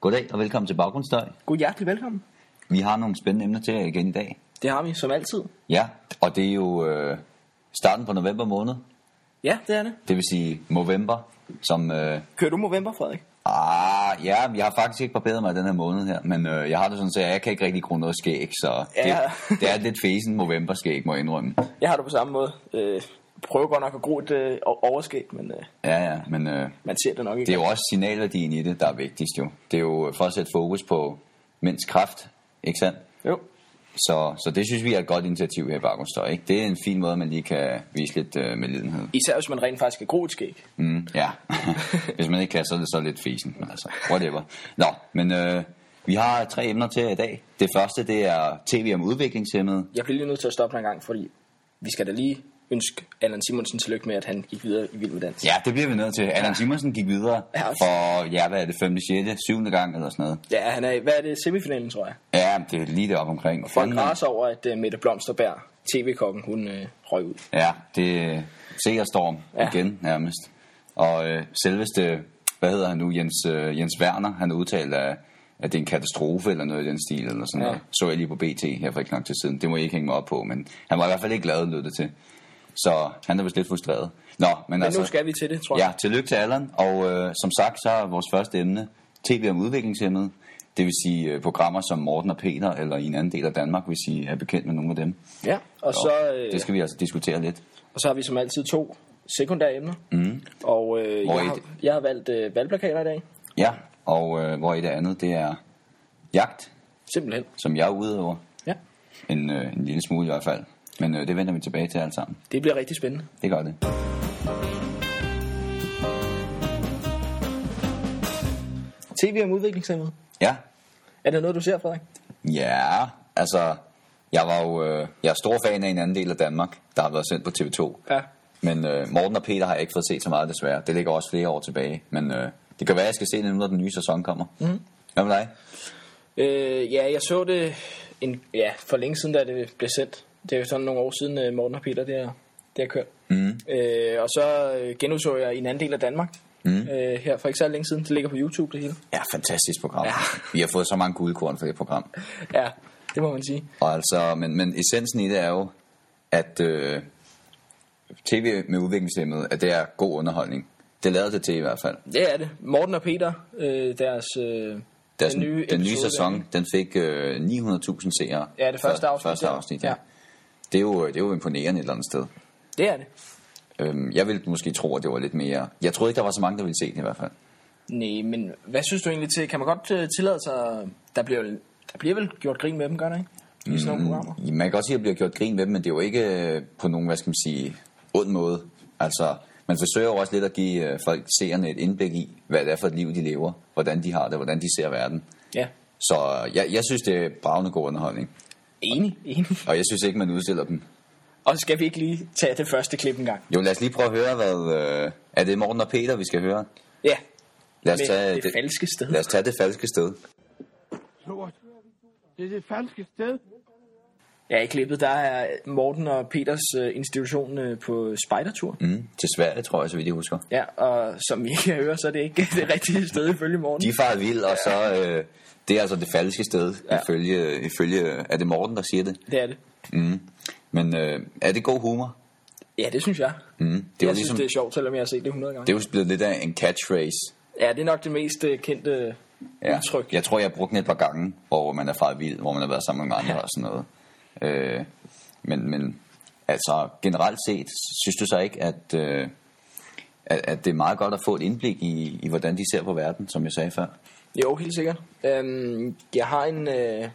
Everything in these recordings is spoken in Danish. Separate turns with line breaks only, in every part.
goddag og velkommen til Baggrundsstøj.
God hjertelig velkommen.
Vi har nogle spændende emner til jer igen i dag.
Det har vi, som altid.
Ja, og det er jo øh, starten på november måned.
Ja, det er det.
Det vil sige november, som... Øh,
Kører du Movember, Frederik?
ah, ja, jeg har faktisk ikke barberet mig den her måned her, men øh, jeg har det sådan, at jeg kan ikke rigtig gro noget skæg, så
Ja.
det, det er lidt fesen november skæg, må jeg indrømme.
Jeg har det på samme måde. Øh, prøver godt nok at gro et øh, overskæg, men øh,
Ja, ja, men øh,
man ser det nok ikke.
det er jo også signalværdien i det, der er vigtigst jo. Det er jo for at sætte fokus på mænds kraft, ikke sandt?
jo.
Så, så det synes vi er et godt initiativ her i Baggrundsstøj. Ikke? Det er en fin måde, man lige kan vise lidt øh, medlidenhed.
Især hvis man rent faktisk kan gro et skæg.
Mm, ja, hvis man ikke kan, så er det så lidt fisen. Men altså, whatever. Nå, men øh, vi har tre emner til jer i dag. Det første, det er tv om udviklingshemmede.
Jeg bliver lige nødt til at stoppe dig en gang, fordi vi skal da lige ønske Allan Simonsen tillykke med, at han gik videre i Vild med Dans.
Ja, det bliver vi nødt til. Allan Simonsen gik videre
Ja, også.
for, ja, hvad er det, 5., 6., 7. gang eller sådan noget.
ja han er i, hvad er det, semifinalen, tror jeg.
Ja, det er lige deroppe omkring. Og
Folk græs over, at uh, Mette Blomsterberg, tv-kokken, hun øh, røg ud.
Ja, det ser storm ja.
Ja.
igen nærmest. Og øh, selveste, hvad hedder han nu, Jens, øh, Jens Werner, han udtalte, at, at det er en katastrofe eller noget i den stil, eller sådan ja.
Ja.
noget. Så jeg lige på BT her for ikke lang tid siden. Det må jeg ikke hænge mig op på, men han var i hvert fald ikke glad, lød det til. Så han er vist lidt frustreret. Nå, men,
Men
altså...
nu skal vi til det, tror jeg.
Ja, tillykke til Allan. Og øh, som sagt, så er vores første emne TV om udviklingshemmede. Det vil sige øh, programmer som Morten og Peter, eller i en anden del af Danmark, hvis I er bekendt med nogle af dem.
ja. Og,
Jo,
så, øh,
Det skal vi altså diskutere lidt.
og så har vi som altid to sekundære emner. Mm. Og øh,
Hvor
jeg,
et-
har, jeg har valgt øh, valgplakater i dag,
Ja, og øh, hvor i det andet, det er jagt,
simpelthen.
som jeg udøver.
Ja,
En, øh, en lille smule i hvert fald. Men øh, det vender vi tilbage til alt sammen.
det bliver rigtig spændende.
Det gør det.
TV om udviklingshemmede.
Ja,
Er det noget, du ser, Frederik?
ja, altså, jeg var jo, øh, jeg er stor fan af en anden del af Danmark, der har været sendt på TV2.
Ja.
Men øh, Morten og Peter har jeg ikke fået set så meget desværre. Det ligger også flere år tilbage. Men øh, det kan være, jeg skal se det nu, når den nye sæson kommer. Mm. Hvad med dig?
Øh, ja, jeg så det en, ja, for længe siden, da det blev sendt. Det er jo sådan nogle år siden, øh, Morten og Peter, det har, det har kørt. Mm. Øh, og så øh, genudså jeg i en anden del af Danmark. Mm. Øh, her for ikke så længe siden. Det ligger på YouTube, det hele.
Ja, fantastisk program.
Ja.
Vi har fået så mange guldkorn for det program.
Ja, det må man sige.
Og altså, men, men essensen i det er jo, at øh, tv med udviklingshemmede, at det er god underholdning. Det lader det til i hvert fald.
Det er det. Morten og Peter, øh, deres, øh,
Deres, den, nye, den nye
episode,
sæson, den fik øh, 900.000 seere.
Ja, det første
Før-
afsnit,
Første
ja.
afsnit, ja. ja.
Ja.
Det, er jo, det er jo imponerende et eller andet sted.
Det er det.
Øhm, jeg ville måske tro, at det var lidt mere... Jeg troede ikke, der var så mange, der ville se det i hvert fald.
Nej, men hvad synes du egentlig til? Kan man godt øh, tillade sig... Der bliver, vel- der bliver vel gjort grin med dem, gør der ikke? I sådan nogle programmer.
Ja, Man kan godt sige, at der bliver gjort grin med dem, men det er jo ikke øh, på nogen, hvad skal man sige, ond måde. Altså, man forsøger jo også lidt at give øh, folk seerne et indblik i, hvad det er for et liv, de lever, hvordan de har det, hvordan de ser verden.
Ja.
Så øh, jeg, jeg synes, det er bravende god underholdning,
Enig, enig.
og jeg synes ikke, man udstiller dem.
Og så skal vi ikke lige tage det første klip en gang.
Jo, lad os lige prøve at høre, hvad... Øh, er det Morten og Peter, vi skal høre?
Ja,
Lad os,
med
tage
det, det falske sted.
lad os tage det falske sted.
Lort. Det er det falske sted.
Ja, i klippet, der er Morten og Peters øh, institution øh, på spejdertur. Mm.
Mm, til Sverige, tror jeg, så vidt jeg husker.
Ja, og som I kan høre, så er det ikke det rigtige sted ifølge Morten.
De er faret vild, og så... Øh, det er altså det falske sted, ja. ifølge, ifølge... Er det Morten, der siger det?
Det er det.
Mm. Men øh, er det god humor?
Ja, det synes jeg.
Mm. Det, er jo
Det jeg ligesom...
ligesom,
synes, det er sjovt, selvom jeg har set det 100 gange.
det er jo blevet lidt af en catchphrase.
Ja, det er nok det mest øh, kendte ja. udtryk.
Jeg tror, jeg har brugt den et par gange, hvor man er faret vild, hvor man har været sammen med andre ja. og sådan noget. Øh, men, men altså generelt set, synes du så ikke, at, øh, at, at det er meget godt at få et indblik i, i, hvordan de ser på verden, som jeg sagde før?
Jo, helt sikkert. Øhm, jeg har en... Øh,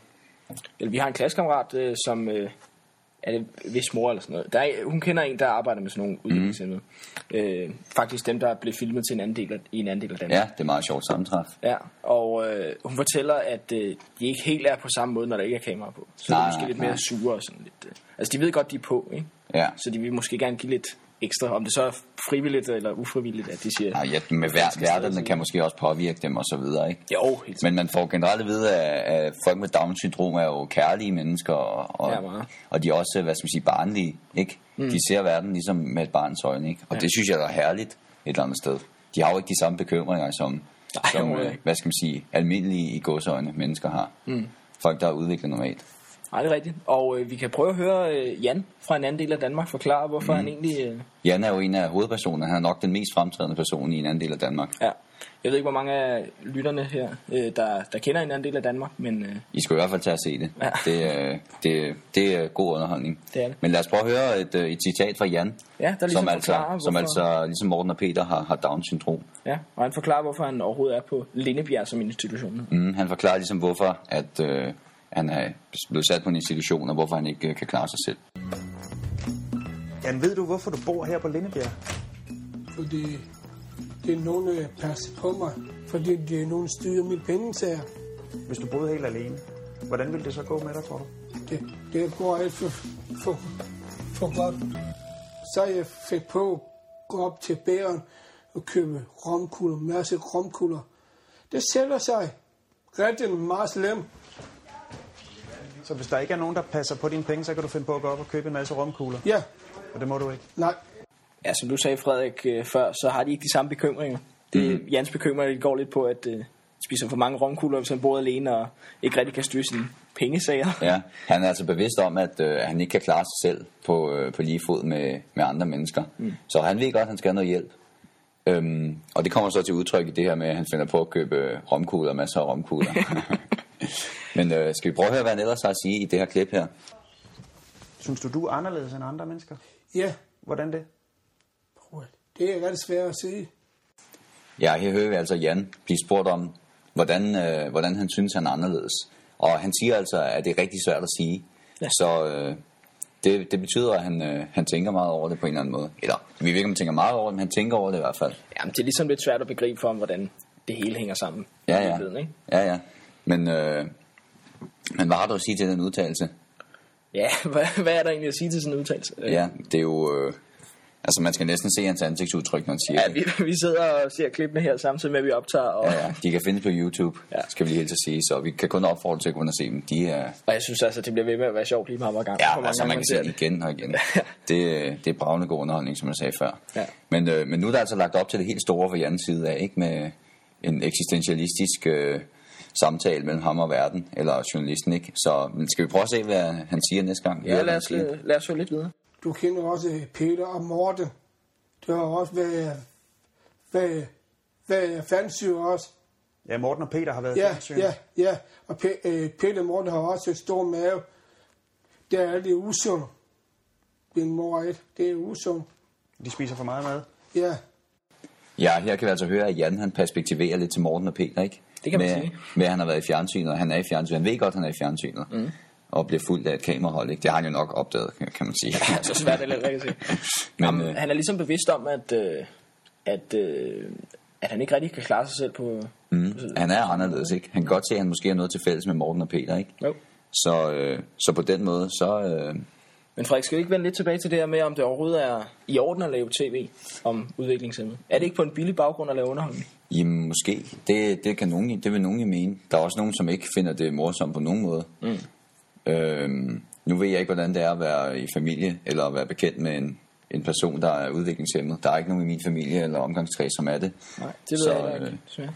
eller vi har en klassekammerat, øh, som... Øh, er det hvis mor eller sådan noget? Der er, hun kender en, der arbejder med sådan nogle
Mhm.
udviklingshemmede. Mm. Øh, faktisk dem, der blev filmet til en anden del af, i en anden del af Danmark.
Ja, det er meget sjovt sammentræf.
Ja, og øh, hun fortæller, at øh, de ikke helt er på samme måde, når der ikke er kamera på. Så nej,
Nej,
de er måske
nej,
lidt
nej.
mere sure og sådan lidt. Øh. Altså, de ved godt, de er på, ikke?
Ja.
Så de vil måske gerne give lidt ekstra, om det så er frivilligt eller ufrivilligt, at de siger...
Og ja, med vær- værterne kan måske også påvirke dem og så videre, ikke?
Jo, helt sikkert.
Men man får generelt at vide, at, at folk med Down-syndrom er jo kærlige mennesker, og, og,
Ja, meget.
og de er også, hvad skal man sige, barnlige, ikke? Mm. De ser verden ligesom med et barns øjne, ikke? Og ja. det synes jeg der er herligt et eller andet sted. De har jo ikke de samme bekymringer, som Nej, som,
overhovedet
øh,
ikke.
hvad skal man sige, almindelige i godsøjne mennesker har. Mm. Folk, der er udviklet normalt.
Nej, det er rigtigt. Og øh, vi kan prøve at høre øh, Jan fra en anden del af Danmark forklare, hvorfor mm. han egentlig... Øh,
Jan er jo en af hovedpersonerne. Han er nok den mest fremtrædende person i en anden del af Danmark.
ja. Jeg ved ikke, hvor mange af lytterne her, øh, der, der kender en anden del af Danmark, men øh,
I skal i hvert fald tage og se det.
Ja.
Det, øh, det, det er god underholdning.
Det er det.
Men lad os prøve at høre et, øh, et citat fra Jan,
Ja, der ligesom
som, altså,
forklarer,
som
hvorfor-
altså, ligesom Morten og Peter, har, har Down-syndrom.
ja, og han forklarer, hvorfor han overhovedet er på Lindebjerg som institution.
Mm, han forklarer ligesom, hvorfor at, øh, han er blevet sat på en institution, og hvorfor han ikke øh, kan klare sig selv.
Jan, ved du, hvorfor du bor her på Lindebjerg?
fordi det er nogen, der passer på mig, fordi det er nogen, der styrer mine penge, sagde jeg.
Hvis du boede helt alene, hvordan ville det så gå med dig, tror du?
Det, det går alt for, for, for godt. Så jeg fik på at gå op til bæren og købe romkugler, en masse romkugler. Det sælger sig rigtig meget slemt.
Så hvis der ikke er nogen, der passer på dine penge, så kan du finde på at gå op og købe en masse romkugler.
Ja,
Og det må du ikke.
nej,
Ja, som du sagde, Frederik, øh, før, så har de ikke de samme bekymringer. Det, mm. Jans bekymringer de går lidt på, at øh, spiser for mange romkugler, hvis han bor alene og ikke rigtig kan styre sine pengesager.
Ja, han er altså bevidst om, at øh, han ikke kan klare sig selv på, øh, på lige fod med, med andre mennesker. Mm. Så han ved godt, at han skal have noget hjælp. Øhm, og det kommer så til udtryk i det her med, at han finder på at købe øh, romkugler, masser af romkugler. Men øh, skal vi prøve at høre, hvad han ellers har at sige i det her klip her?
Synes du, du er anderledes end andre mennesker?
ja.
Hvordan det?
Det er ret svært at sige.
Ja, her hører vi altså Jan blive spurgt om, hvordan, øh, hvordan han synes, han er anderledes. Og han siger altså, at det er rigtig svært at sige. Ja.
Ja.
Så øh, det, det betyder, at han, øh, han tænker meget over det på en eller anden måde. Eller, vi ved ikke, om han tænker meget over det, men han tænker over det i hvert fald.
Jamen, det er ligesom lidt svært at begribe for ham, hvordan det hele hænger sammen.
Ja,
I
ja.
virkeligheden, Ikke?
ja, ja. Men, øh, men hvad har du at sige til den udtalelse?
Ja, hvad, hvad er der egentlig at sige til sådan en udtalelse? Øh,
Ja, det er jo... Øh, altså, man skal næsten se hans ansigtsudtryk, når han siger
Ja,
det.
vi, vi sidder og ser klippene her samtidig med, at vi optager, og,
Ja, ja, de kan findes på YouTube, ja.
Ja.
skal vi lige helt til at sige, så vi kan kun opfordre til at gå ind og se dem. De er,
og jeg synes altså, det bliver ved med at være sjovt lige meget hver gang. hvor
Ja,
mange
altså
gange
man kan se
ser
det igen og igen. Det, det er bravende god underholdning, som jeg sagde før.
Ja.
Men, øh, men nu er der altså lagt op til det helt store fra Jans side af, ikke med en eksistentialistisk øh, samtale mellem ham og verden, eller journalisten, ikke? Så men skal vi prøve at se, hvad han siger næste gang? Høre,
Ja,
hvad
lad
han
os,
siger.
øh, lad os høre lidt videre.
Du kender også øh, Peter og Morten. Det har også været, været, været fansyre også.
Ja, Morten og Peter har været
Ja,
fjernsyn.
ja, ja. Og P- øh, Peter Morten har også en stor mave. Der er det usundt. Min mor er et. Det er usundt.
De spiser for meget mad.
Ja.
Ja, her kan vi altså høre, at Jan han perspektiverer lidt til Morten og Peter, ikke?
Det kan man
med,
sige.
Med, at han har været i fjernsynet, og han er i fjernsynet. Han ved godt, at han er i fjernsynet. Mm. Og bliver fuldt af et kamerahold, ikke? Det har han jo nok opdaget, kan kan man sige.
Så svært er det heller ikke at se.
Men,
Jamen,
øh,
han er ligesom bevidst om, at, øh, at, øh, at han ikke rigtig kan klare sig selv på...
Mm. Han er anderledes, ikke? Han kan godt se, at han måske har noget til fælles med Morten og Peter, ikke?
Jo.
Så, øh, så på den måde, så... Øh,
Men Frederik, skal vi ikke vende lidt tilbage til det her med, om det overhovedet er i orden at lave tv om udviklingshemmede? Er det ikke på en billig baggrund at lave underholdning?
jamen, måske. Det, det, kan nogen, det vil nogen jo mene. Der er også nogen, som ikke finder det morsomt på nogen måde. Mm. Øh, nu ved jeg ikke, hvordan det er at være i familie, eller at være bekendt med en, en person, der er udviklingshemmet. Der er ikke nogen i min familie eller omgangskreds, som er det.
Nej, det ved
Så,
jeg heller
øh,
ikke. desværre.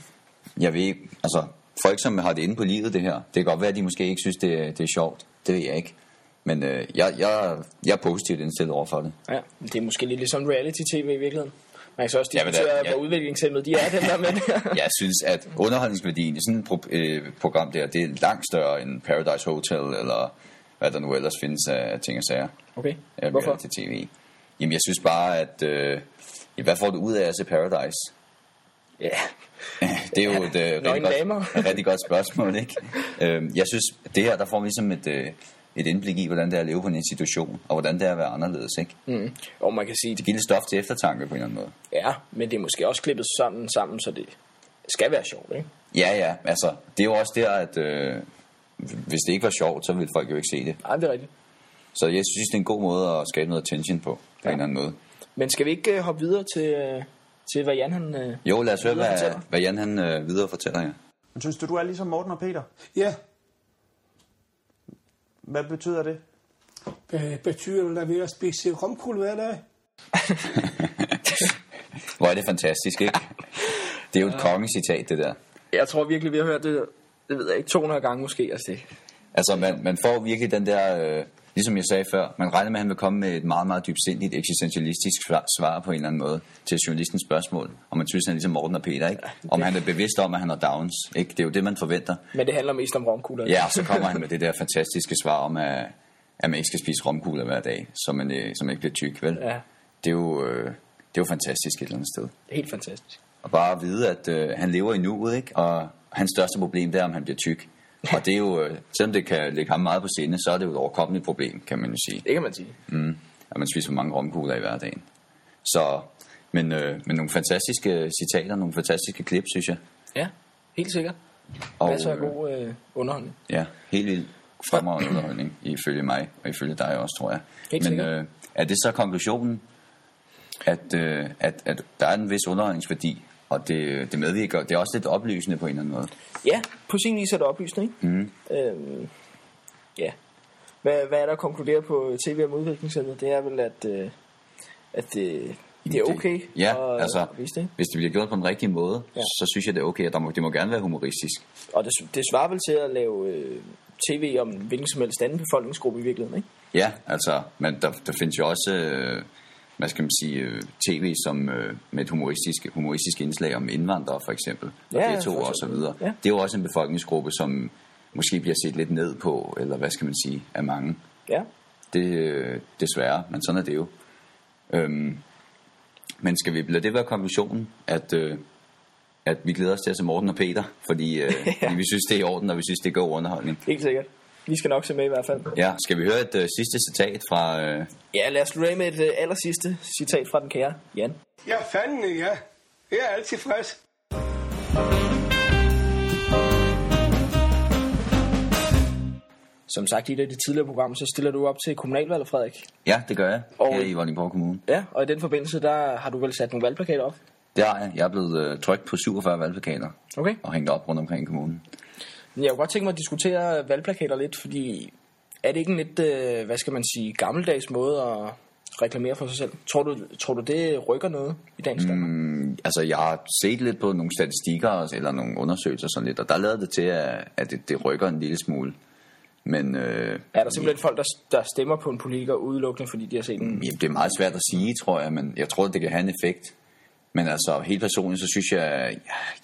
Jeg ved ikke, altså folk som har det inde på livet det her, det kan godt være, at de måske ikke synes, det, er- det er sjovt. Det ved jeg ikke. Men øh, jeg, jeg, jeg er positivt indstillet over for det.
Ja, men det er måske lidt ligesom reality-tv i virkeligheden. Man kan så også
Ja, men der-
diskutere,
ja.
hvor udviklingshemmede de er, dem der er med det.
Jeg synes, at underholdningsværdien i sådan et pro- øh, program der, det er langt større end Paradise Hotel, eller hvad der nu ellers findes af ting og sager.
Okay,
af
hvorfor?
reality tv. Jamen, jeg synes bare, at... Øh, ja, hvad får du ud af at se Paradise?
Ja,
Det er jo et, øh, rigtig,
Nøgne damer.
godt, et rigtig godt spørgsmål, ikke? øhm, jeg synes, det her, der får vi ligesom et, øh, et indblik i, hvordan det er at leve på en institution, og hvordan det er at være anderledes, ikke?
mm. og man kan sige,
Det giver lidt stof til eftertanke på en eller anden måde.
ja, men det er måske også klippet sådan sammen, så det skal være sjovt, ikke?
Ja, ja, altså, det er jo også der, at øh, hvis det ikke var sjovt, så ville folk jo ikke se det.
Nej, det er rigtigt.
Så jeg synes, det er en god måde at skabe noget attention på, på ja. en eller anden måde.
Men skal vi ikke øh, hoppe videre til, øh, til hvad Jan han... Øh...
Jo, lad os høre,
Videre
hvad,
fortæller.
hvad Jan han øh, videre fortæller jer.
Men synes du, du er ligesom Morten og Peter?
Ja.
Hvad betyder det?
Be- betyder det, at jeg er ved at spise romkugle hver dag?
Hvor er det fantastisk, ikke? Det er jo et kongecitat, det der.
Jeg tror virkelig, vi har hørt det, det ved jeg ikke, 200 gange måske. Altså det.
Altså, man, man får virkelig den der, øh, ligesom jeg sagde før, man regner med, at han vil komme med et meget, meget dybsindigt, eksistentialistisk svar, svar på en eller anden måde til journalistens spørgsmål. Og man synes, han er ligesom Morten og Peter, ikke? Om han er bevidst om, at han har downs, ikke? Det er jo det, man forventer.
Men det handler mest om romkugler.
Ja, og så kommer han med det der fantastiske svar om, at, at man ikke skal spise romkugler hver dag, så man, øh, så man ikke bliver tyk, vel?
Ja.
Det, er jo, øh, det er jo fantastisk et eller andet sted.
Helt fantastisk.
Og bare at vide, at øh, han lever i nuet, ikke? Og hans største problem, det er, om han bliver tyk. Og det er jo, øh, selvom det kan ligge ham meget på sinde, så er det jo et overkommeligt problem, kan man jo sige.
Det kan man sige.
Mm. At man spiser for mange romkugler i hverdagen. Så, men, øh, men nogle fantastiske citater, nogle fantastiske klip, synes jeg.
Ja, helt sikkert.
Og,
Masser af
øh,
god øh, underholdning.
Ja, helt vildt fremragende underholdning, ifølge mig, og ifølge dig også, tror jeg.
Helt
Men
sikkert.
øh, er det så konklusionen, at, øh, at, at der er en vis underholdningsværdi, og det, det medvirker, det er også lidt oplysende på en eller anden måde.
Ja, på sin vis er det oplysende, ikke? Mm. Øhm, ja. Hvad, hvad er der konkluderet på TV om udviklingscenteret? Det er vel, at, øh, at det, det er okay
Ja,
at,
altså,
at vise det.
hvis det bliver gjort på den rigtige måde, ja. så synes jeg, det er okay, og der må, det må gerne være humoristisk.
Og det, det svarer vel til at lave øh, tv om hvilken som helst anden befolkningsgruppe i virkeligheden, ikke?
Ja, altså, men der, der findes jo også, øh, hvad skal man sige, øh, tv som, øh, med et humoristisk, humoristisk indslag om indvandrere, for eksempel, og
Ja,
ja, to
for
og så
eksempel.
videre.
Ja.
Ja. Det er jo også en befolkningsgruppe, som måske bliver set lidt ned på, eller hvad skal man sige, af mange.
Ja,
Det øh, desværre, men sådan er det jo. Øhm, men skal vi lade det være konklusionen, at, øh, at vi glæder os til at se Morten og Peter, fordi, øh, fordi vi synes, det er i orden, og vi synes, det er god underholdning.
helt sikkert. Vi skal nok se med i hvert fald.
Ja, skal vi høre et øh, sidste citat fra... Øh,
Ja, lad os slutte af med et øh, allersidste citat fra den kære Jan.
Ja, fanden, ja. Jeg er altid frisk.
Som sagt i et af de tidligere programmer, så stiller du op til kommunalvalget, Frederik.
Ja, det gør jeg.
Og-
Og... Her i Vordingborg Kommune.
Ja, og i den forbindelse, der har du vel sat nogle valgplakater op.
Det har jeg. Jeg er blevet øh, trykt på 47 valgplakater
Okay.
og hængt op rundt omkring i kommunen.
Men jeg kunne godt tænke mig at diskutere valgplakater lidt, fordi er det ikke en lidt, øh, hvad skal man sige, gammeldags måde at reklamere for sig selv? Tror du, tror du det rykker noget i dagens Danmark? Mm.
Altså, jeg har set lidt på nogle statistikker og- eller nogle undersøgelser sådan lidt, og der lader det til, at, at det, det rykker en lille smule. Men øh,
Er der simpelthen folk, der, der stemmer på en politiker udelukkende, fordi de har set en...
jamen, det er meget svært at sige, tror jeg, men jeg tror, det kan have en effekt. Men altså, helt personligt, så synes jeg,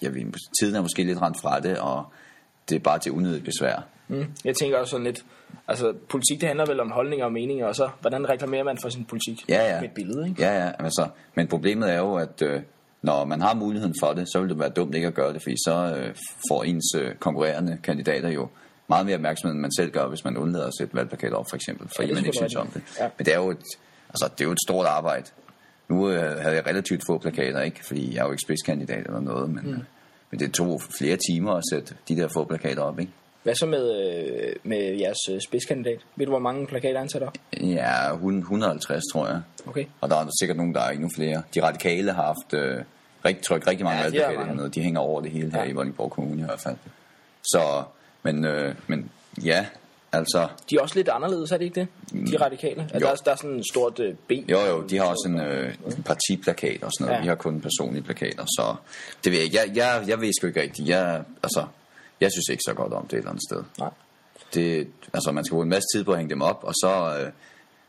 ja, jeg ved, tiden er måske lidt rent fra det, og det er bare til unødigt besvær.
Mm. Jeg tænker også sådan lidt, altså politik det handler vel om holdninger og meninger, og så hvordan reklamerer man for sin politik
ja, ja.
med et billede, ikke?
Ja, ja, altså, men problemet er jo, at øh, når man har muligheden for det, så vil det være dumt ikke at gøre det, fordi så øh, får ens øh, konkurrerende kandidater jo meget mere opmærksomhed, end man selv gør, hvis man undlader at sætte valgplakat op, for eksempel, fordi
det er
ja, man ikke
selvfølgelig
synes om det.
rigtigt. Ja.
Ja. Men det er, jo et, altså, det er jo et stort arbejde. Nu øh, havde jeg relativt få plakater, ikke? fordi jeg er jo ikke spidskandidat eller noget, men, mm. øh, men det tog flere timer at sætte de der få plakater op, ikke?
Hvad så med, øh, med jeres øh, spidskandidat? Ved du, hvor mange plakater han sætter op?
Ja, 150, tror jeg.
Okay.
Og der er sikkert nogen, der er endnu flere. De radikale har haft øh, rigtig tryk, rigtig mange
Ja,
ja,
de har
valgplakater
mange.
hernede. De hænger over det hele her
Ja.
ja. i Vordingborg Kommune i hvert fald. Så, men, øh, men ja, altså,
De er også lidt anderledes, er det ikke det? De radikale. Altså,
Mm. Jo.
der, er, der er sådan en stort øh, B.
jo jo, de har også en, øh, en partiplakat og sådan noget.
Ja.
Ja. Vi har kun personlige plakater, så det ved jeg ikke. Jeg, jeg, jeg ved sgu ikke rigtigt. Jeg, altså, jeg synes ikke så godt om det et eller andet sted.
Nej.
det, altså man skal bruge en masse tid på at hænge dem op, og så øh,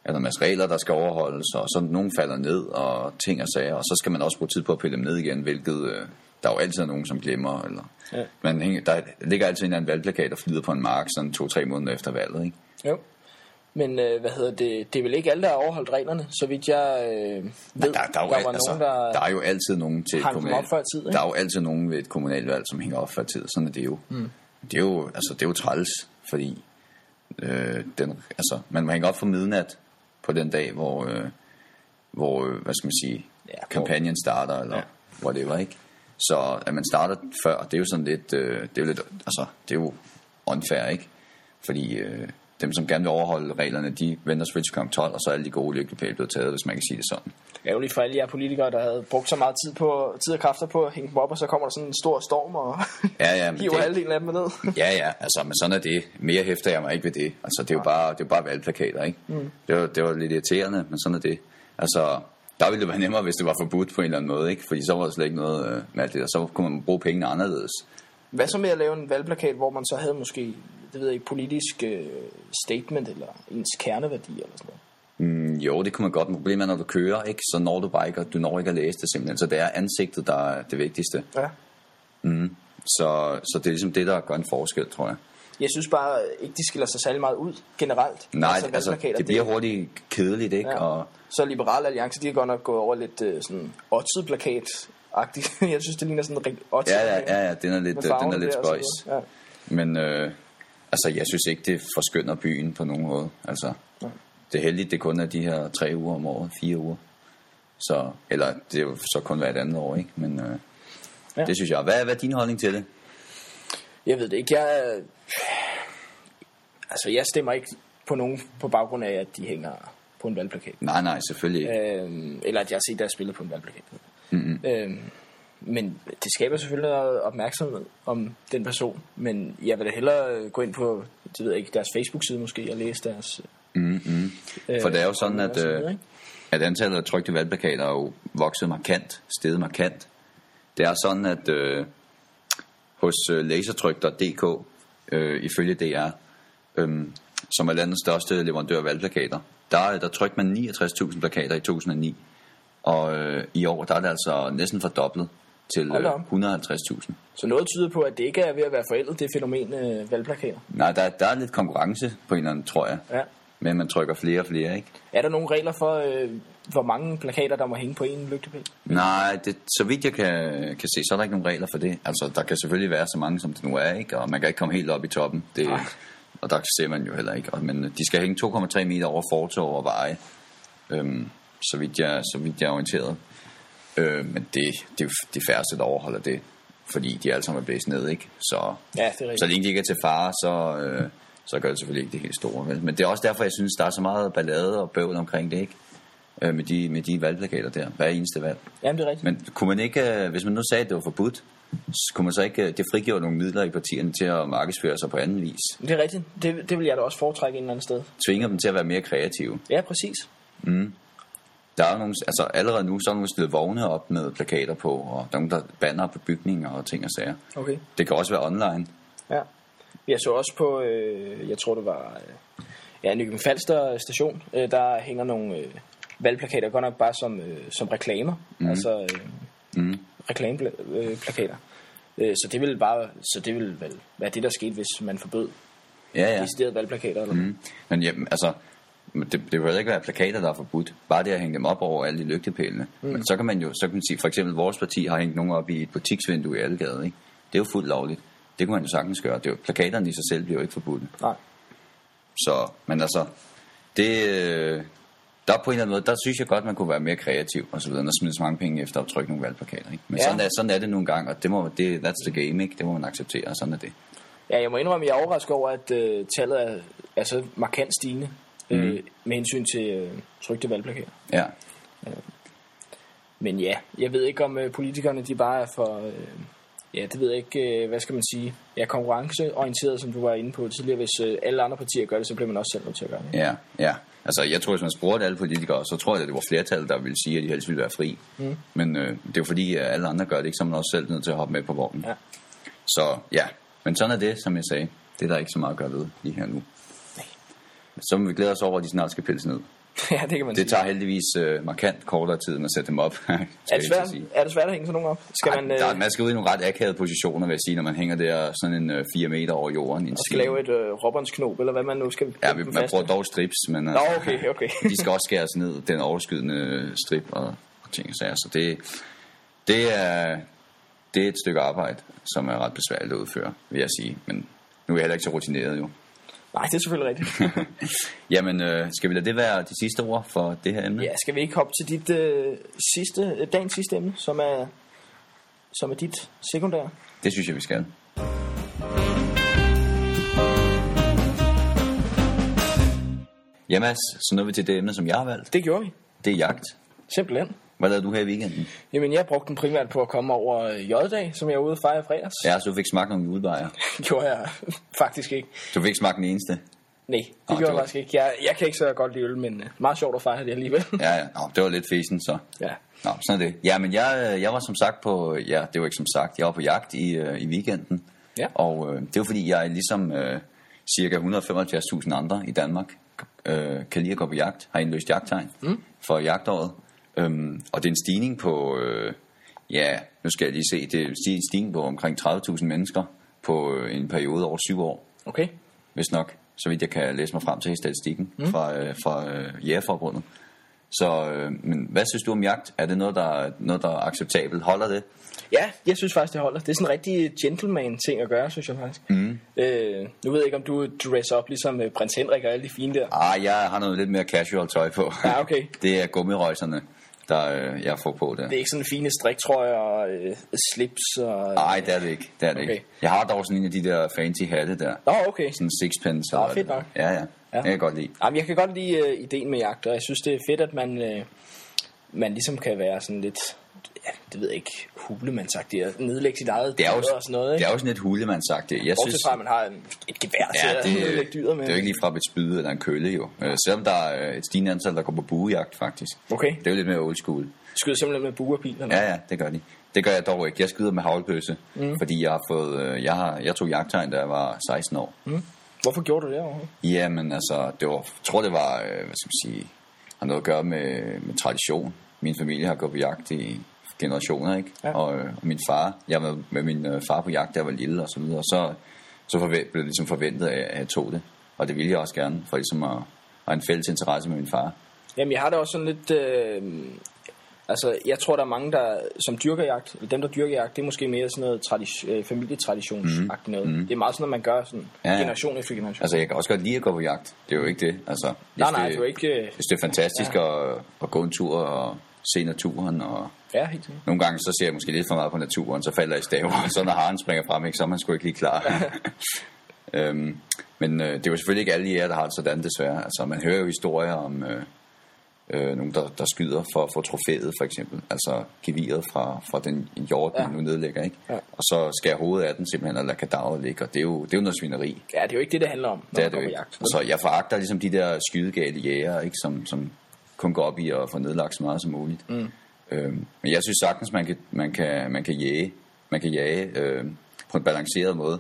er der en masse regler, der skal overholdes, og så nogen falder ned, og ting og sager, og så skal man også bruge tid på at pille dem ned igen, hvilket øh, der er jo altid er nogen, som glemmer, eller
Ja.
ja. man hænger, der ligger altid en eller anden valgplakat, der flyder på en mark, sådan to-tre måneder efter valget, ikke?
Jo. Men øh, hvad hedder det? Det er vel ikke alle, der har overholdt reglerne, så vidt jeg øh, ved.
Der, der, er jo,
var
al- altså,
nogen, der...
der er jo altid nogen til
hang dem
kommunal,
op før tid, ikke?
Der er jo altid nogen ved et kommunalvalg, som hænger op før tid. Sådan er det jo. Mm. Det er jo, altså, det er jo træls, fordi øh, den, altså, man må hænge op for midnat på den dag, hvor, øh, hvor øh, hvad skal man sige,
Ja,
ja,
hvor-
kampagnen starter, eller
Ja.
ja. whatever, ikke? Så at man starter før, det er jo sådan lidt, øh, det er jo lidt, altså, det er jo unfair, ikke? Fordi øh, dem, som gerne vil overholde reglerne, de venter selvfølgelig til kl. 12, og så er alle de gode lygtepæle blevet taget, hvis man kan sige det sådan.
Ærgerligt for alle jer politikere, der havde brugt så meget tid, på, tid og kræfter på at hænge dem op, og så kommer der sådan en stor storm og
Ja, ja, men
hiver
det-
halvdelen af dem ned.
Ja, ja, altså, men sådan er det. Mere hæfter jeg mig ikke ved det. Altså, det er jo bare, det er jo bare valgplakater, ikke? Mm. Det, var, det var lidt irriterende, men sådan er det. Altså, der ville det være nemmere, hvis det var forbudt på en eller anden måde, ikke? Fordi så var der slet ikke noget øh, med alt det, og så kunne man bruge pengene anderledes.
Hvad så med at lave en valgplakat, hvor man så havde måske, det ved jeg ikke, politisk øh, statement eller ens kerneværdi eller sådan noget?
Mm, jo, det kunne man godt, men problemet er, når du kører, ikke? Så når du bare ikke, og du når ikke at læse det simpelthen. Så det er ansigtet, der er det vigtigste. Mm.
Ja.
Så, så det er ligesom det, der gør en forskel, tror jeg.
Jeg synes bare ikke, de skiller sig særlig meget ud generelt.
Nej, altså, altså,
valgplakater,
det bliver hurtigt kedeligt, ikke? Ja. Og,
Så Liberal Alliance, de er godt nok gået over lidt øh, sådan plakat-agtigt. jeg synes, det ligner sådan en rigtig
ja, ja, ja, ja, den er lidt,
Med
den
farven
er lidt
der og så
spøjs.
videre. Ja.
Men øh, altså, jeg synes ikke, det forskynder byen på nogen måde. Altså, det er heldigt, det kun er de her tre uger om året, fire uger. Så, eller det er jo så kun hvert andet år, ikke? Men øh,
Ja.
ja. det synes jeg. Hvad, er- hvad er din holdning til det?
Jeg ved det ikke. Jeg, øh, altså, jeg stemmer ikke på nogen på baggrund af, at de hænger på en valgplakat.
Nej, nej, selvfølgelig ikke.
Øh, eller at jeg har set deres spillet på en valgplakat. Mm-hmm. Øh, men det skaber selvfølgelig noget opmærksomhed om den person. Men jeg vil da hellere øh, gå ind på det ved jeg ikke, deres Facebook-side måske og læse deres... Mm-hmm.
For det er jo sådan, at,
videre,
øh,
ikke?
at antallet af trygte valgplakater er jo vokset markant, steget markant. Det er sådan, at øh, hos øh, lasertryk.dk, øh, ifølge DR, øh, som er landets største leverandør af valgplakater, der, øh, der trykte man 69.000 plakater i 2009. Og øh, i år, der er det altså næsten fordoblet til
Hold
øh,
da op.
150.000.
Så noget tyder på, at det ikke er ved at være forældet, det fænomen øh, valgplakater.
Nej, der, der er lidt konkurrence på en eller anden, tror jeg.
Ja.
Men man trykker flere og flere, ikke?
Er der nogle regler for, øh, hvor mange plakater, der må hænge på en lygtepæl?
Nej, det, så vidt jeg kan, kan se, så er der ikke nogen regler for det. Altså, der kan selvfølgelig være så mange, som det nu er, ikke? og man kan ikke komme helt op i toppen. Det, og der ser man jo heller ikke. Og, men øh, de skal hænge 2,3 meter over fortov og veje, øhm, så, vidt jeg, så vidt jeg er orienteret. Øh, men det, det er jo de færreste, der overholder det, fordi de alle sammen er blæst ned, ikke? Så,
Ja, det er rigtigt.
så længe de ikke er til fare, så, øh, så gør det selvfølgelig ikke det helt store. Vel? Men det er også derfor, jeg synes, der er så meget ballade og bøvl omkring det, ikke? Øh, med, de, med de valgplakater der, hver eneste valg.
Jamen, det er rigtigt. Men...
Men kunne man ikke, øh, hvis man nu sagde, at det var forbudt, så kunne man så ikke, øh, det frigjorde nogle midler i partierne til at markedsføre sig på anden vis.
Det er rigtigt. Det, det vil jeg da også foretrække en eller anden sted.
Tvinger dem til at være mere kreative.
Ja, præcis.
Der er jo nogle, altså allerede nu, så er der nogle stillet vogne op med plakater på, og der er nogen, der banner på bygninger og ting og sager.
Okay.
Det kan også være online.
Ja. Jeg så også på, øh, jeg tror det var, øh, ja, Nykøbing Falster station, øh, der hænger nogle øh, valgplakater, godt nok bare som, øh, som reklamer, mm. altså øh, mm. reklameplakater. Øh, plakater. øh, så det ville bare, så det ville vel være det, der skete, hvis man forbød
Ja,
ja.
ja.
deciderede valgplakater. Eller? Mm.
Men jamen, altså, det, det vil heller ikke være plakater, der er forbudt. Bare det at hænge dem op over alle de lygtepælene. Mm. Men så kan man jo så kan man sige, for eksempel vores parti har hængt nogen op i et butiksvindue i Algade, ikke? Det er jo fuldt lovligt. Det kunne man jo sagtens gøre. Det er jo, plakaterne i sig selv bliver jo ikke forbudt.
Nej.
Så, men altså, det, øh, der på en eller anden måde, der synes jeg godt, man kunne være mere kreativ og så videre, og smide så mange penge efter at trykke nogle valgplakater. Ikke? Men
Ja.
ja. sådan, er, sådan er det nogle gange, og det må, det, that's the game, ikke? det må man acceptere, og sådan er det.
Ja, jeg må indrømme, at jeg er overrasket over, at øh, tallet er, er så markant stigende mm. øh, med hensyn til øh, trygte valgplakater.
Ja.
Men ja, jeg ved ikke, om øh, politikerne de bare er for... Øh, ja, det ved jeg ikke, øh, hvad skal man sige? Ja, konkurrenceorienteret, som du var inde på tidligere. Hvis øh, alle andre partier gør det, så bliver man også selv nødt til at gøre det.
Ja, ja. Altså, jeg tror, hvis man spurgte alle politikere, så tror jeg, at det var flertallet, der ville sige, at de helst ville være fri. Mm. Men øh, det er jo fordi, at alle andre gør det ikke, så er man også selv nødt til at hoppe med på vognen.
Ja.
Så ja, men sådan er det, som jeg sagde. Det er der ikke så meget at gøre ved lige her nu. Så må vi glæde os over, at de snart skal pilles ned.
ja, det kan man
Det
sige.
tager heldigvis øh, markant kortere tid, end at sætte dem op. skal
Er
jeg
det,
lige
svært,
sige.
er det svært at hænge sådan nogen op? Skal
Ej,
man, øh,
der, er- man skal ud i nogle ret akavede positioner, vil jeg sige, når man hænger der sådan en øh, 4 meter over jorden. i En stige.
skal lave et øh, robbersknob, eller hvad man nu skal...
Ja,
knytte
vi,
dem
man
fast
bruger
med?
dog strips, men øh,
Nå, okay, okay.
de skal også skæres ned, den overskydende strip og, og ting og sager. Så det, det, er, det er et stykke arbejde, som er ret besværligt at udføre, vil jeg sige. Men nu er jeg heller ikke så rutineret jo.
Nej, det er selvfølgelig rigtigt.
Jamen, øh, skal vi lade det være de sidste ord for det her emne?
ja, skal vi ikke hoppe til dit øh, sidste, øh, dagens sidste emne, som er, som er dit sekundære?
Det synes jeg, vi skal. Ja, Mads, så nåede vi til det emne, som jeg har valgt.
Det gjorde vi.
Det er jagt.
Simpelthen.
Hvad lavede du her i weekenden?
Jamen, jeg brugte den primært på at komme over øh, J-dag, som jeg var ude og fejre i fredags.
Ja, så du fik smagt nogle julebajer.
gjorde jeg faktisk ikke.
Du fik ikke smagt den eneste.
Nej, det
Nå,
gjorde
det
jeg
var-
faktisk ikke. Jeg, jeg kan ikke så godt lide øl, men øh, meget sjovt at fejre det alligevel.
Ja, ja. Nå, det var lidt fesen, så.
ja.
Nå, sådan er det. Ja, men jeg, øh, jeg var som sagt på, ja, det var ikke som sagt, jeg var på jagt i, øh, i weekenden.
Ja.
Og øh, det var fordi, jeg ligesom øh, cirka 175.000 andre i Danmark øh, kan lide at gå på jagt, har indløst jagttegn mm. for jagtåret. Øhm, og det er en stigning på, øh, ja, nu skal jeg lige se, det er en stigning på omkring 30.000 mennesker på øh, en periode over syv år
Okay.
hvis nok, så vidt jeg kan læse mig frem til i statistikken mm. fra, øh, fra øh, Jægerforbundet. Så, øh, men hvad synes du om jagt? Er det noget, der, noget, der er acceptabelt? Holder det?
Ja, jeg synes faktisk, det holder. Det er sådan en rigtig gentleman-ting at gøre, synes jeg faktisk. Mm. Øh, nu ved jeg ikke, om du dress up ligesom øh, prins Henrik og alle de fine der.
Ah, jeg har noget lidt mere casual tøj på.
Ja, okay.
det er gummirøjserne, der øh, jeg får på der.
Det er ikke sådan fine striktrøjer og øh, slips og...
Nej, det er det ikke. Det er det
Okay.
ikke. Jeg har dog sådan en af de der fancy hatte der.
Nå, okay.
Sådan en sixpence.
Nå,
eller-
fedt nok.
Ja, ja.
Ja.
Det kan jeg godt lide.
Jamen, jeg kan godt lide øh, ideen med jagt, og jeg synes, det er fedt, at man, øh, man ligesom kan være sådan lidt... Ja, det ved jeg ikke, hulemandsagtig, og nedlægge sit eget
Det er jo,
dyr og sådan noget,
det
ikke?
er jo sådan lidt hulemandsagt. Jeg synes,
Bortset fra, at man har en- et gevær til at nedlægge dyret med.
det er jo ikke lige fra et spyd eller en kølle jo. Øh, selvom der er øh, et stigende antal, der går på buejagt faktisk.
Okay.
Det er jo lidt mere old school.
Skyder simpelthen med buerpil eller
Ja, ja, det gør de. Det gør jeg dog ikke. Jeg skyder med havlpøse, mm. fordi jeg har fået, øh, jeg, har, jeg tog jagttegn, da jeg var 16 år. Mm.
Hvorfor gjorde du det overhovedet?
Jamen altså, det var, jeg tror det var, øh, hvad skal man sige, har noget at gøre med, med tradition. Min familie har gået på jagt i generationer, ikke?
Ja.
Og, øh, og, min far, jeg var med min øh, far på jagt, da jeg var lille og så videre. Og så, så forvent, blev det ligesom forventet, at at jeg tog det. Og det ville jeg også gerne, for ligesom at, at have en fælles interesse med min far.
Jamen, jeg har det også sådan lidt... Øh, altså, jeg tror, der er mange, der som dyrker jagt, eller dem, der dyrker jagt, det er måske mere sådan noget tradi- øh, familietraditionsagtigt noget. Mm. Det er meget sådan noget, man gør sådan
Mhm. Ja, ja.
generation efter generation. Altså,
Altså, jeg kan også godt lide at gå på jagt. Det er jo ikke det. Altså, hvis
nej, nej, det er jo ikke... Øh,
Hvis det er fantastisk ja. at, at gå en tur og se naturen, og
ja, helt sikkert.
nogle gange så ser jeg måske lidt for meget på naturen, så falder jeg i staver, og så når haren springer frem, ikke, så er man sgu ikke lige klar. øhm, men øh, det er jo selvfølgelig ikke alle jer, der har det sådan, desværre. Altså, man hører jo historier om øh, øh, nogen, der, der skyder for at få trofæet, for eksempel. Altså geviret fra, fra den jord, man nu nedlægger, ikke?
Ja.
Og så skærer hovedet af den simpelthen, og lader kadaveret ligge, og det er jo, det er jo noget svineri.
Ja, det er jo ikke det, det handler om, når
Det er det
man går
jo
på
ikke.
jagt.
Så jeg foragter ligesom de der skydegale jæger, ikke, som, som kun går op i at få nedlagt så meget som muligt. Mm. Øhm, men jeg synes sagtens, man kan, man kan, man kan jage, man kan jage øh, på en balanceret måde,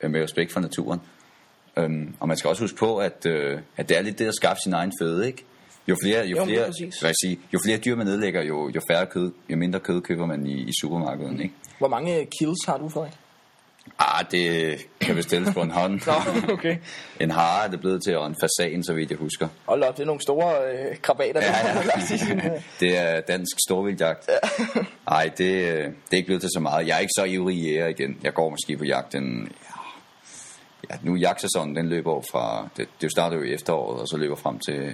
øh, med respekt for naturen. Øhm, og man skal også huske på, at, øh, at det er lidt det at skaffe sin egen føde, ikke? Jo flere, jo,
Jo, lige
flere,
præcis.
hvad jeg sige, jo flere dyr man nedlægger, jo, jo, færre kød, jo mindre kød køber man i, i supermarkedet, ikke?
Hvor mange øh, kills har du, Frederik?
Ah, det kan vi stilles på en hånd.
Nå, okay.
En hare er det blevet til, og en fasan, så vidt jeg husker.
Hold op, det er nogle store øh, krabater.
Ja,
der kommer langs i sin,
ja.
øh.
det er dansk storvildjagt. Nej, det, øh, det er ikke blevet til så meget. Jeg er ikke så ivrig jæger igen. Jeg går måske på jagt den... Ja, nu er jagtsæsonen, den løber jo fra... Det, det starter jo i efteråret, og så løber frem til,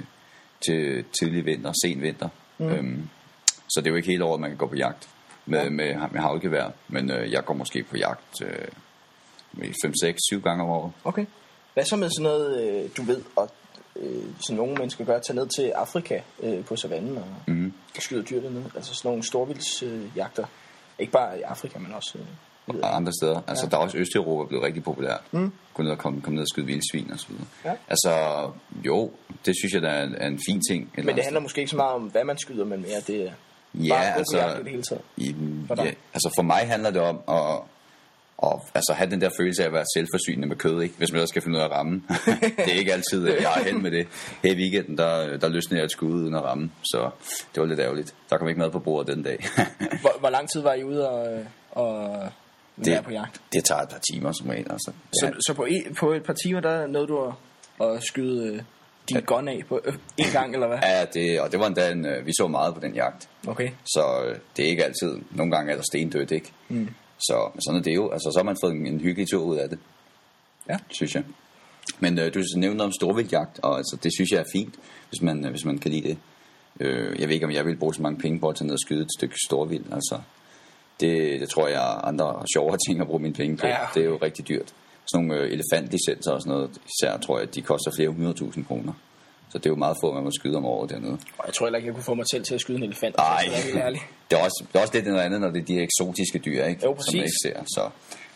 til tidlig vinter, sen vinter. Mm. Øhm, så det er jo ikke hele året, man kan gå på jagt med, ja. med, med havlgevær. Men øh, jeg går måske på jagt øh, 5-6-7 gange om året.
Okay. Hvad så med sådan noget, øh, du ved, og øh, som nogle mennesker gør, tage ned til Afrika øh, på savannen og,
Mhm.
mm. og skyde dyr dernede? Altså sådan nogle storvildsjagter. Øh, jagter. ikke bare i Afrika, men også... Øh, i
og andre steder. Altså, ja. der er også Østeuropa blevet rigtig populært. Mm. Gå ned og komme, komme ned og skyde vildsvin og så videre.
Ja.
Altså, jo, det synes jeg, der er en, er en fin ting. et eller
men det
andet
handler måske ikke så meget om, hvad man skyder, men mere det er
Ja,
bare at gå på
altså-
jagt i det hele taget.
I,
For dig?
ja, altså for mig handler det om at, at altså have den der følelse af at være selvforsynende med kød, ikke? hvis man ellers skal finde ud af at ramme. det er ikke altid, at jeg er hen med det. Her i weekenden, der, der løsnede jeg et skud uden at ramme, så det var lidt ærgerligt. Der kom ikke mad på bordet den dag.
Hvor, hvor lang tid var I ude og, øh, og det, være på jagt?
det tager et par timer som regel. Altså.
Så, så på, et, på et par timer, der nåede du at, at skyde øh, din ja. gun af på øh, en gang, eller hvad?
Ja, det, og det var endda en, øh, vi så meget på den jagt.
Okay.
Så øh, det er ikke altid. Nogle gange er der stendødt, ikke? Mm. Så sådan er det jo. Altså, så har man fået en, en hyggelig tur ud af det.
Ja.
Synes jeg. Men øh, du nævnte noget om storvildjagt, og altså, det synes jeg er fint, hvis man, øh, hvis man kan lide det. Øh, jeg ved ikke, om jeg vil bruge så mange penge på at tage ned og skyde et stykke storvild. Altså, det, det tror jeg er andre sjovere ting at bruge mine penge på.
Ja.
Det er jo rigtig dyrt. Sådan nogle øh, elefantlicenser og sådan noget, især tror jeg, de koster flere hundredtusind kroner. Så det er jo meget få, man må skyde om året dernede.
Og jeg tror heller ikke, jeg kunne få mig selv til at skyde en elefant.
Nej,
Det er helt ærlig.
det er, også, det er også lidt noget andet, når det er de eksotiske dyr, ikke?
Jo,
som man
præcis.
ikke ser. Så.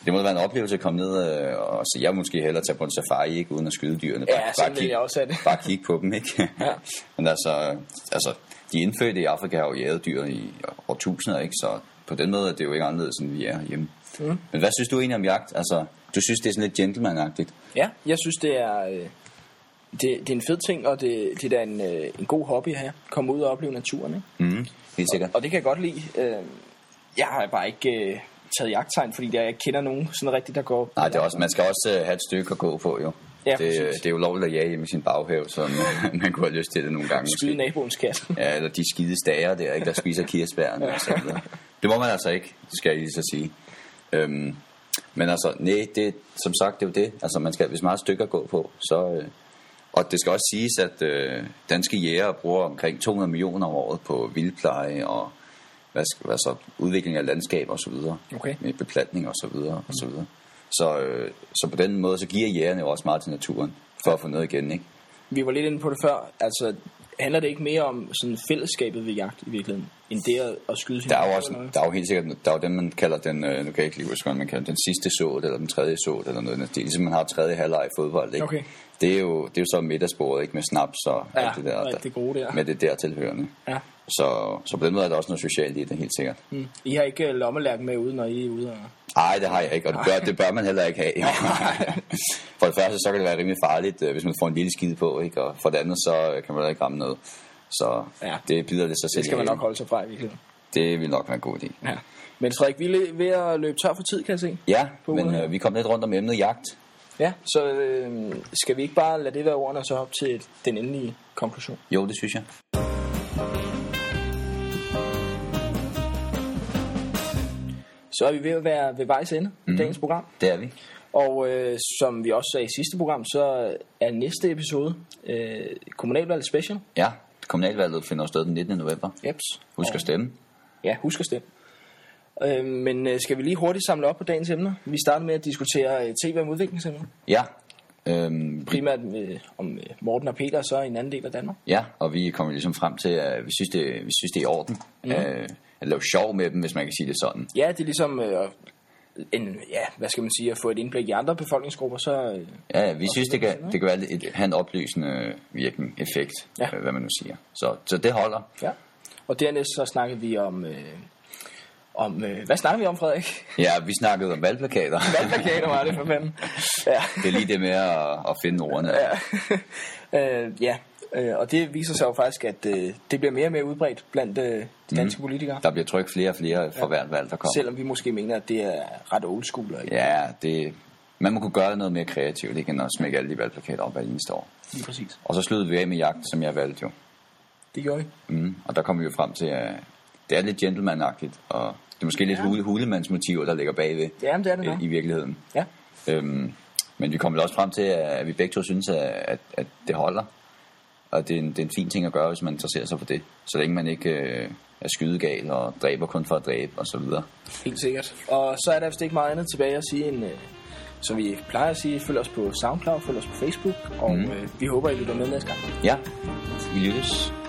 det må da være en oplevelse at komme ned øh, og så jeg vil måske hellere tage på en safari, ikke uden at skyde dyrene.
Ja, sådan ville jeg også have det.
bare kigge på dem, ikke?
Ja.
Men altså, altså, de indfødte i Afrika har jo jaget dyr i årtusinder, ikke? Så på den måde er det jo ikke anderledes, end vi er hjemme. Mm. Men hvad synes du egentlig om jagt? Altså, du synes, det er sådan lidt gentlemanagtigt.
Ja, jeg synes, det er, øh, det, det er en fed ting, og det, det er da en, øh, en god hobby at have. Komme ud og opleve naturen, ikke?
Mm. Helt sikkert.
Og det kan jeg godt lide. Øh, jeg har bare ikke øh, taget jagttegn, fordi jeg ikke kender nogen sådan rigtigt, der går...
Nej, det er også, man skal også øh, have et stykke at gå på, jo.
Ja,
det, øh,
præcis.
det er jo lovligt at jage hjemme i sin baghave, så man, man kunne have lyst til det nogle gange.
Skyde
måske.
naboens kat.
Ja, eller de skide stager der, ikke, der spiser kirsebærne og sådan noget. Det må man altså ikke, skal jeg lige så sige. Øhm, men altså, nej, det, som sagt, det er jo det. Altså, man skal, hvis man har et stykke at gå på, så... Øh, og det skal også siges, at øh, danske jæger bruger omkring 200 millioner om året på vildpleje og hvad, skal- hvad så, udvikling af landskab og så videre.
Okay.
Med beplantning og så videre og så videre. Så, øh, så på den måde, så giver jægerne jo også meget til naturen for at få noget igen, ikke?
Vi var lidt inde på det før. Altså, handler det ikke mere om sådan fællesskabet ved jagt i virkeligheden, end det at, at skyde sin
Der er jo
egen
også,
eller hvad?
der er jo helt sikkert, der er jo den, man kalder den, øh, nu kan jeg ikke lige huske, hvad man kalder den, den sidste såd, eller den tredje såd, eller noget. i den stil. ligesom man har tredje halvleg i fodbold, ikke?
Okay.
Det er jo, det er jo så middagsbordet, ikke? Med snaps og
Ja,
alt det der.
og alt det gode der.
Med det der tilhørende.
Ja.
Så, så på den måde er der også noget socialt i det, helt sikkert.
Mm. I har ikke øh, lommelærken med ude, når I er ude og...
Nej, det har jeg ikke, og det bør, det bør man heller ikke have. for det første, så kan det være rimelig farligt, øh, hvis man får en lille skide på, ikke? og for det andet, så øh, kan man heller ikke ramme noget. Så
Ja.
ja. det bider det sig selv.
Det
i
skal man nok
halen.
holde sig fra i virkeligheden.
Det vil nok være en god idé.
Ja. Men Frederik, vi er lidt ved at løbe tør for tid, kan jeg se.
Ja,
På
men
uret.
øh, vi kom lidt rundt om emnet jagt.
Ja, så øh, skal vi ikke bare lade det være ordene og så op til den endelige konklusion?
Jo, det synes jeg.
Så er vi ved at være ved vejs ende mm. i dagens program.
Det er vi.
Og øh, som vi også sagde i sidste program, så er næste episode øh, kommunalvalget special.
Ja, kommunalvalget finder sted den 19. november.
Jeps.
Husk at stemme.
Ja, husk at stemme. Øh, men øh, skal vi lige hurtigt samle op på dagens emner? Vi starter med at diskutere øh, tv om udviklingsemner.
Ja. Øhm,
Primært øh, om øh, Morten og Peter, og så i en anden del af Danmark.
ja, og vi kommer ligesom frem til, at vi synes, det, vi synes, det er i orden. Mm. Øh, at lave sjov med dem, hvis man kan sige det sådan.
Ja, det er ligesom... Øh, en, ja, hvad skal man sige, at få et indblik i andre befolkningsgrupper, så øh,
Ja, ja, vi synes, det kan, det kan være lidt, et, have en oplysende virkning, effekt,
Ja.
ja. hvad man nu siger. Så, så det holder.
Ja. Og dernæst så snakkede vi om... Øh, om øh, hvad snakkede vi om, Frederik?
Ja, vi snakkede om valgplakater.
Valgplakater var det for fanden. Ja.
det er lige det med at, at finde ordene. Ja.
øh, ja. Øh, og det viser sig jo faktisk, at øh, det bliver mere og mere udbredt blandt øh, de danske mm. politikere.
Der bliver trykt flere og flere for hvert valg, der kommer.
Selvom vi måske mener, at det er ret old school. og Ikke?
Ja, det, man må kunne gøre noget mere kreativt, ikke, end at smække alle de valgplakater op hver eneste år.
Lige præcis.
Og så sluttede vi af med jagt, som jeg valgte jo.
Det gjorde vi.
Mm. Og der kom vi jo frem til, at det er lidt gentlemanagtigt, og det er måske lidt ja. hulemandsmotiver, der ligger bagved
Ja, men det er det
øh,
nok.
i virkeligheden.
Ja.
Øhm, men vi kom vel også frem til, at vi begge to synes, at, at, at det holder. Og det er, en, det er en fin ting at gøre, hvis man interesserer sig for det. Så længe man ikke øh, er skydegal og dræber kun for at dræbe og så videre.
Helt sikkert. Og så er der vist ikke meget andet tilbage at sige end... Øh, som vi plejer at sige, følg os på SoundCloud, følg os på Facebook, og mm. øh, vi håber, I lytter med næste gang.
Ja, vi lyttes.